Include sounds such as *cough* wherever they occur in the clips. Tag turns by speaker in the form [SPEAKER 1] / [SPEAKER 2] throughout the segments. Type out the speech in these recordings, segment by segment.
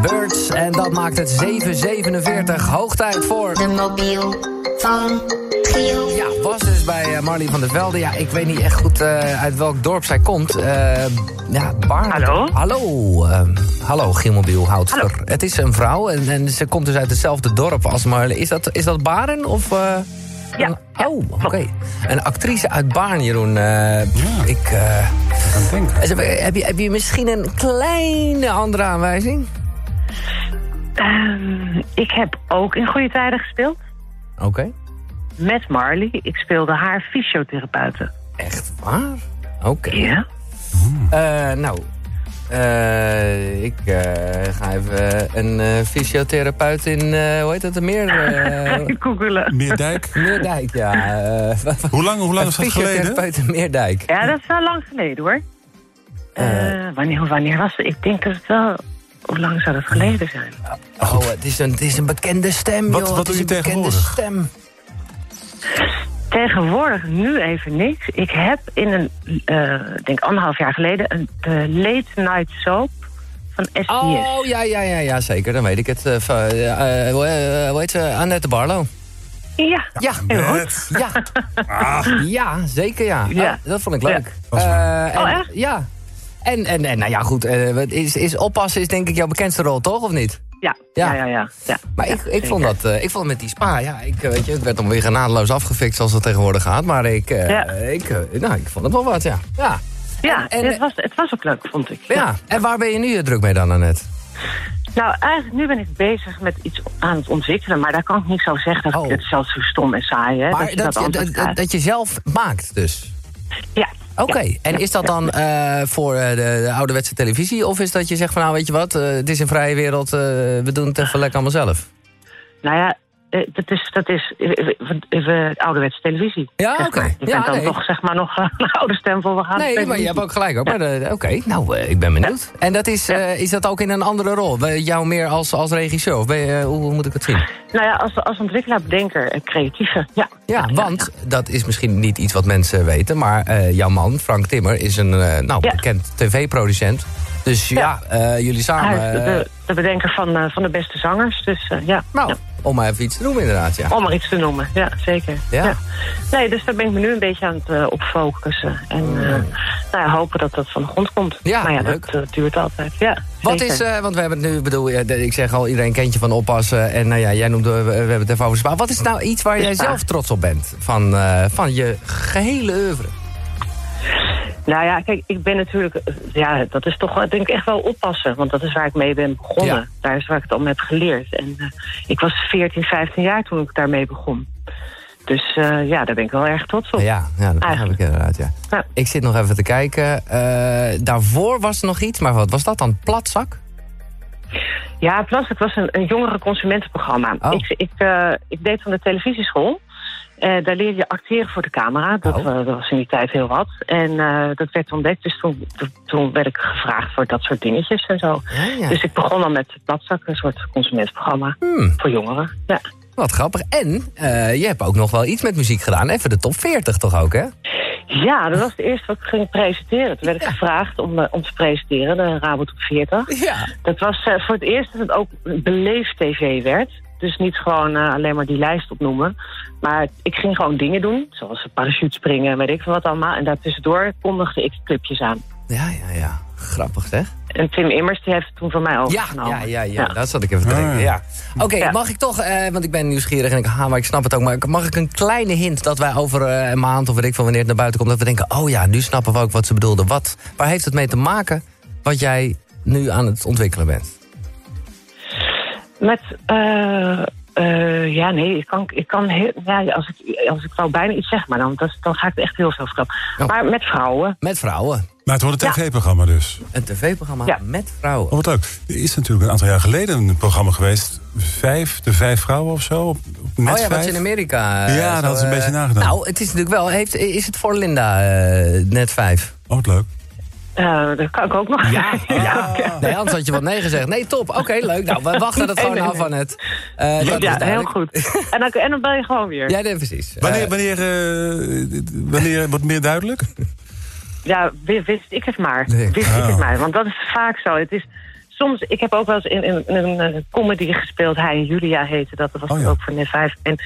[SPEAKER 1] Birds. En dat maakt het 7.47 hoog tijd voor...
[SPEAKER 2] De mobiel van Giel.
[SPEAKER 1] Ja, was dus bij eh, Marley van der Velde. Ja, ik weet niet echt goed eh, uit welk dorp zij komt. Eh, ja, Baarn.
[SPEAKER 3] Hallo?
[SPEAKER 1] Hallo, ehm, hallo Gielmobiel Houtver. Het is een vrouw en, en ze komt dus uit hetzelfde dorp als Marley. Is dat, is dat Baren of... eh,
[SPEAKER 3] Ja,
[SPEAKER 1] een- Oh, oké. Een actrice uit Baarn, Jeroen. Eh, Ik... eh,
[SPEAKER 4] Aan het denken.
[SPEAKER 1] heb, je- heb je, heb je misschien een kleine andere aanwijzing?
[SPEAKER 3] Ehm, ik heb ook in goede tijden gespeeld.
[SPEAKER 1] Oké.
[SPEAKER 3] Met Marley. Ik speelde haar fysiotherapeuten.
[SPEAKER 1] Echt waar? Oké.
[SPEAKER 3] *laughs* Ja.
[SPEAKER 1] Eh, nou, eh, ik eh, ga even eh, een eh, fysiotherapeut in, eh, hoe heet dat, de Meer,
[SPEAKER 4] *laughs*
[SPEAKER 1] eh,
[SPEAKER 3] Googelen.
[SPEAKER 4] Meerdijk.
[SPEAKER 1] Meerdijk, ja. eh, wat- wat-
[SPEAKER 4] Hoe lang, hoe lang is dat geleden?
[SPEAKER 1] fysiotherapeut in Meerdijk.
[SPEAKER 3] Ja, dat is wel lang geleden hoor. Eh, wanneer, wanneer was het? Ik denk dat het wel... Hoe lang zou dat geleden zijn?
[SPEAKER 1] Oh, het is een, het is een bekende stem,
[SPEAKER 4] Wat-
[SPEAKER 1] joh.
[SPEAKER 4] wat
[SPEAKER 1] het
[SPEAKER 4] doe
[SPEAKER 1] is
[SPEAKER 4] je
[SPEAKER 1] een bekende
[SPEAKER 4] tegenwoordig?
[SPEAKER 1] stem.
[SPEAKER 3] Tegenwoordig nu even niks. Ik heb in een, eh, ik denk anderhalf jaar geleden, een de late night soap van SBS.
[SPEAKER 1] Oh, ja, ja, ja, ja, zeker. Dan weet ik het. Eh, van, eh, eh, hoe eh, hoe heet ze? Annette Barlo.
[SPEAKER 3] Ja.
[SPEAKER 1] Ja,
[SPEAKER 3] Heel goed.
[SPEAKER 4] Het.
[SPEAKER 1] ja. Ja, zeker ja.
[SPEAKER 3] Ja.
[SPEAKER 1] Ah, dat vond ik leuk.
[SPEAKER 4] Ah. Dat is
[SPEAKER 1] Eh, en-
[SPEAKER 3] Oh, echt?
[SPEAKER 1] Ja. En, en, en nou ja, goed. eh, wat is, is oppassen is denk ik jouw bekendste rol, toch? Of niet?
[SPEAKER 3] Ja,
[SPEAKER 1] Ja.
[SPEAKER 3] ja, ja, ja. ja.
[SPEAKER 1] Maar ik, ik, vond dat, eh, ik vond met die spa, ja, ik, eh, weet je, het werd dan weer genadeloos afgefikt zoals het tegenwoordig gaat. Maar ik, eh,
[SPEAKER 3] Ja.
[SPEAKER 1] ik, eh, nou, ik vond het wel wat, ja. Ja.
[SPEAKER 3] Ja,
[SPEAKER 1] en-
[SPEAKER 3] het, was, het was ook leuk, vond ik.
[SPEAKER 1] ja. En waar ben je nu eh, druk mee dan, Annette?
[SPEAKER 3] Nou, eigenlijk nu ben ik bezig met iets aan het ontwikkelen, maar daar kan ik niet zo zeggen dat
[SPEAKER 1] Oh.
[SPEAKER 3] ik het zelf zo stom en saai hè, dat
[SPEAKER 1] Maar
[SPEAKER 3] je
[SPEAKER 1] dat,
[SPEAKER 3] dat,
[SPEAKER 1] je,
[SPEAKER 3] antwoord
[SPEAKER 1] dat,
[SPEAKER 3] krijgt.
[SPEAKER 1] dat je zelf maakt dus.
[SPEAKER 3] ja.
[SPEAKER 1] Oké, en is dat dan eh, voor eh, de, de ouderwetse televisie? Of is dat je zegt van, nou weet je wat, eh, het is een vrije wereld, eh, we doen het even lekker allemaal zelf?
[SPEAKER 3] Nou ja, eh, dat is, dat is eh, we- we- we- ouderwetse televisie.
[SPEAKER 1] Ja,
[SPEAKER 3] zeg
[SPEAKER 1] oké.
[SPEAKER 3] maar. Je
[SPEAKER 1] Ja,
[SPEAKER 3] bent dan
[SPEAKER 1] nee.
[SPEAKER 3] toch zeg maar nog *laughs* eh, een oude stem voor we gaan.
[SPEAKER 1] Nee, maar je hebt ook gelijk hoor. Maar eh, Oké, nou, eh, ik ben benieuwd. En dat is, eh, is dat ook in een andere rol? Bij jou meer als, als regisseur? Of ben je, eh, hoe, hoe moet ik het zien?
[SPEAKER 3] Nou ja, als, als ontwikkelaar, bedenker, eh, creatieve. Ja,
[SPEAKER 1] Ja, want dat is misschien niet iets wat mensen weten... maar eh, jouw man, Frank Timmer, is een eh, nou,
[SPEAKER 3] Ja.
[SPEAKER 1] bekend tv-producent. Dus ja, eh, jullie
[SPEAKER 3] hij
[SPEAKER 1] samen...
[SPEAKER 3] is de,
[SPEAKER 1] eh,
[SPEAKER 3] de, de bedenker van, eh, van de beste zangers. Dus eh, ja.
[SPEAKER 1] nou,
[SPEAKER 3] Ja.
[SPEAKER 1] om maar even iets te noemen inderdaad, ja.
[SPEAKER 3] Om maar iets te noemen, ja, zeker.
[SPEAKER 1] Ja.
[SPEAKER 3] Nee, dus daar ben ik me nu een beetje aan het eh, op focussen. En eh, nou ja, hopen dat dat van de grond komt.
[SPEAKER 1] Ja,
[SPEAKER 3] maar ja,
[SPEAKER 1] leuk.
[SPEAKER 3] dat eh, duurt altijd. Ja,
[SPEAKER 1] Wat
[SPEAKER 3] zeker.
[SPEAKER 1] is, eh, want we hebben het nu, ik bedoel, eh, de- ik zeg al, iedereen kent je van oppassen. En nou ja, jij noemde, we, we hebben het even over spa. Wat is nou iets waar jij
[SPEAKER 3] Spa.
[SPEAKER 1] zelf trots op bent? Van, eh, van je gehele oeuvre?
[SPEAKER 3] Nou ja, kijk, ik ben natuurlijk... eh, Ja, dat is toch wel, denk ik echt wel oppassen. Want dat is waar ik mee ben begonnen.
[SPEAKER 1] Ja.
[SPEAKER 3] Daar is waar ik het al mee heb geleerd. En eh, ik was 14, 15 jaar toen ik daarmee begon. Dus eh, ja, daar ben ik wel erg trots op.
[SPEAKER 1] Ja, ja dat heb ik
[SPEAKER 3] Eigenlijk.
[SPEAKER 1] inderdaad, ja.
[SPEAKER 3] Ja.
[SPEAKER 1] Ik zit nog even te kijken. Eh, daarvoor was er nog iets, maar wat was dat dan? Platzak?
[SPEAKER 3] Ja, Plas, het was een, een jongere consumentenprogramma.
[SPEAKER 1] Oh.
[SPEAKER 3] Ik, ik, eh, ik deed van de televisieschool. Eh, daar leer je acteren voor de camera. Dat,
[SPEAKER 1] Oh.
[SPEAKER 3] eh, dat was in die tijd heel wat. En eh, dat werd ontdekt, dus toen, toen- toen werd ik gevraagd voor dat soort dingetjes en zo.
[SPEAKER 1] Ja, ja.
[SPEAKER 3] Dus ik begon dan met Platzak, een soort consumentenprogramma
[SPEAKER 1] Hmm,
[SPEAKER 3] voor jongeren. Ja.
[SPEAKER 1] wat grappig. En eh, je hebt ook nog wel iets met muziek gedaan. Even de top 40 toch ook, hè?
[SPEAKER 3] ja, dat was het eerste wat ik ging presenteren. Toen werd ik
[SPEAKER 1] Ja.
[SPEAKER 3] gevraagd om, eh, om te presenteren, de Rabo Top 40.
[SPEAKER 1] Ja.
[SPEAKER 3] Dat was eh, voor het eerst dat het ook beleefd tv werd. Dus niet gewoon eh, alleen maar die lijst opnoemen. Maar ik ging gewoon dingen doen. Zoals parachute springen, weet ik veel wat allemaal. En daartussendoor kondigde ik clipjes aan.
[SPEAKER 1] Ja, ja, ja. Grappig, zeg.
[SPEAKER 3] En Tim Immers die heeft het toen van mij
[SPEAKER 1] Ja,
[SPEAKER 3] overgenomen.
[SPEAKER 1] ja, ja, ja. Dat zat ik even te denken,
[SPEAKER 4] Ah.
[SPEAKER 1] ja. Oké,
[SPEAKER 3] Ja.
[SPEAKER 1] mag ik toch, eh, want ik ben nieuwsgierig en ik, ha, maar ik snap het ook. Maar mag ik een kleine hint dat wij over eh, een maand of weet ik van wanneer het naar buiten komt... dat we denken, oh ja, nu snappen we ook wat ze bedoelden. Wat, waar heeft het mee te maken wat jij nu aan het ontwikkelen bent?
[SPEAKER 3] Met, eh, eh, ja, nee, ik kan, ik kan heel, ja, als ik, als ik wou bijna iets zeg, maar dan, dat, dan ga ik echt heel veel verklappen.
[SPEAKER 1] Oh.
[SPEAKER 3] Maar met vrouwen.
[SPEAKER 1] Met vrouwen.
[SPEAKER 4] Maar het wordt een
[SPEAKER 3] Ja.
[SPEAKER 4] tv-programma dus.
[SPEAKER 1] Een tv-programma
[SPEAKER 3] Ja.
[SPEAKER 1] met vrouwen.
[SPEAKER 4] Oh, wat leuk. Er is natuurlijk een aantal jaar geleden een programma geweest. Vijf, de vijf vrouwen of zo. Op, op net
[SPEAKER 1] oh ja, wat
[SPEAKER 4] vijf.
[SPEAKER 1] ze in Amerika... eh,
[SPEAKER 4] Ja, daar
[SPEAKER 1] zo,
[SPEAKER 4] hadden ze een
[SPEAKER 1] eh,
[SPEAKER 4] beetje nagedaan.
[SPEAKER 1] Nou, het is natuurlijk wel... Heeft, is het voor Linda eh, net vijf?
[SPEAKER 4] Oh, wat leuk.
[SPEAKER 3] eh, dat kan ik ook nog. *laughs*
[SPEAKER 4] Ah.
[SPEAKER 1] Nee, anders had je wat nee gezegd. Nee, top. Oké, leuk. Nou, we
[SPEAKER 3] *laughs*
[SPEAKER 1] wachten het
[SPEAKER 3] Nee,
[SPEAKER 1] gewoon
[SPEAKER 3] nee,
[SPEAKER 1] af
[SPEAKER 3] nee.
[SPEAKER 1] van het. Eh, dat is
[SPEAKER 3] ja, heel
[SPEAKER 1] duidelijk.
[SPEAKER 3] goed. En dan, en dan bel je gewoon weer.
[SPEAKER 1] Ja, nee, precies.
[SPEAKER 4] Wanneer,
[SPEAKER 1] Eh,
[SPEAKER 4] wanneer, eh, wanneer wordt meer duidelijk?
[SPEAKER 3] Ja, wi- wist ik het maar.
[SPEAKER 1] Nee. Ah.
[SPEAKER 3] Wist ik
[SPEAKER 4] Oh.
[SPEAKER 3] het maar. Want dat is vaak zo. Het is, soms, ik heb ook wel eens in, in, in een eh, comedy gespeeld. Hij en Julia heette dat. Dat was
[SPEAKER 4] Oh ja.
[SPEAKER 3] ook voor net 5. En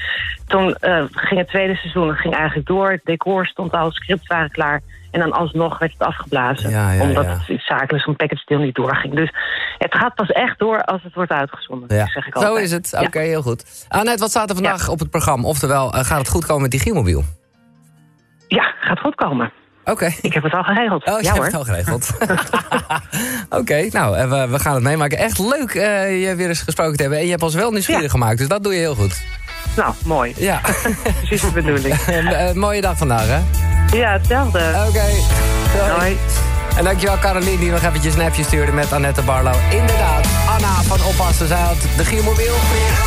[SPEAKER 3] toen eh, ging het tweede seizoen het ging eigenlijk door. Het decor stond al, scripts waren klaar. En dan alsnog werd het afgeblazen.
[SPEAKER 1] Ja, ja,
[SPEAKER 3] omdat
[SPEAKER 1] ja.
[SPEAKER 3] het iets zakelijks van Package Deal niet doorging. Dus het gaat pas echt door als het wordt uitgezonden.
[SPEAKER 1] Ja.
[SPEAKER 3] Dat zeg ik
[SPEAKER 1] Zo
[SPEAKER 3] altijd.
[SPEAKER 1] is het.
[SPEAKER 3] Ja.
[SPEAKER 1] Oké, heel goed. Annette, wat staat er vandaag op het programma? Oftewel, eh, gaat het goed komen met die Gielmobiel?
[SPEAKER 3] Ja, gaat goed komen.
[SPEAKER 1] Oké.
[SPEAKER 3] Ik heb het al geregeld.
[SPEAKER 1] *laughs* Oh, je
[SPEAKER 3] ja
[SPEAKER 1] hebt
[SPEAKER 3] hoor.
[SPEAKER 1] het al geregeld. *laughs* Oké, nou, eh, we, we gaan het meemaken. Echt leuk eh, je weer eens gesproken te hebben. En je hebt ons wel nieuwsgierig
[SPEAKER 3] Ja.
[SPEAKER 1] gemaakt, dus dat doe je heel goed.
[SPEAKER 3] Nou, mooi. *laughs*
[SPEAKER 1] Ja,
[SPEAKER 3] Precies de bedoeling.
[SPEAKER 1] Eh, eh, mooie dag vandaag, hè?
[SPEAKER 3] Ja, hetzelfde.
[SPEAKER 1] Oké. Doei.
[SPEAKER 3] Hoi.
[SPEAKER 1] En dankjewel Caroline die nog eventjes een appje stuurde met Annette Barlo. Inderdaad, Anna van Oppassen. Zij had de Giermobiel.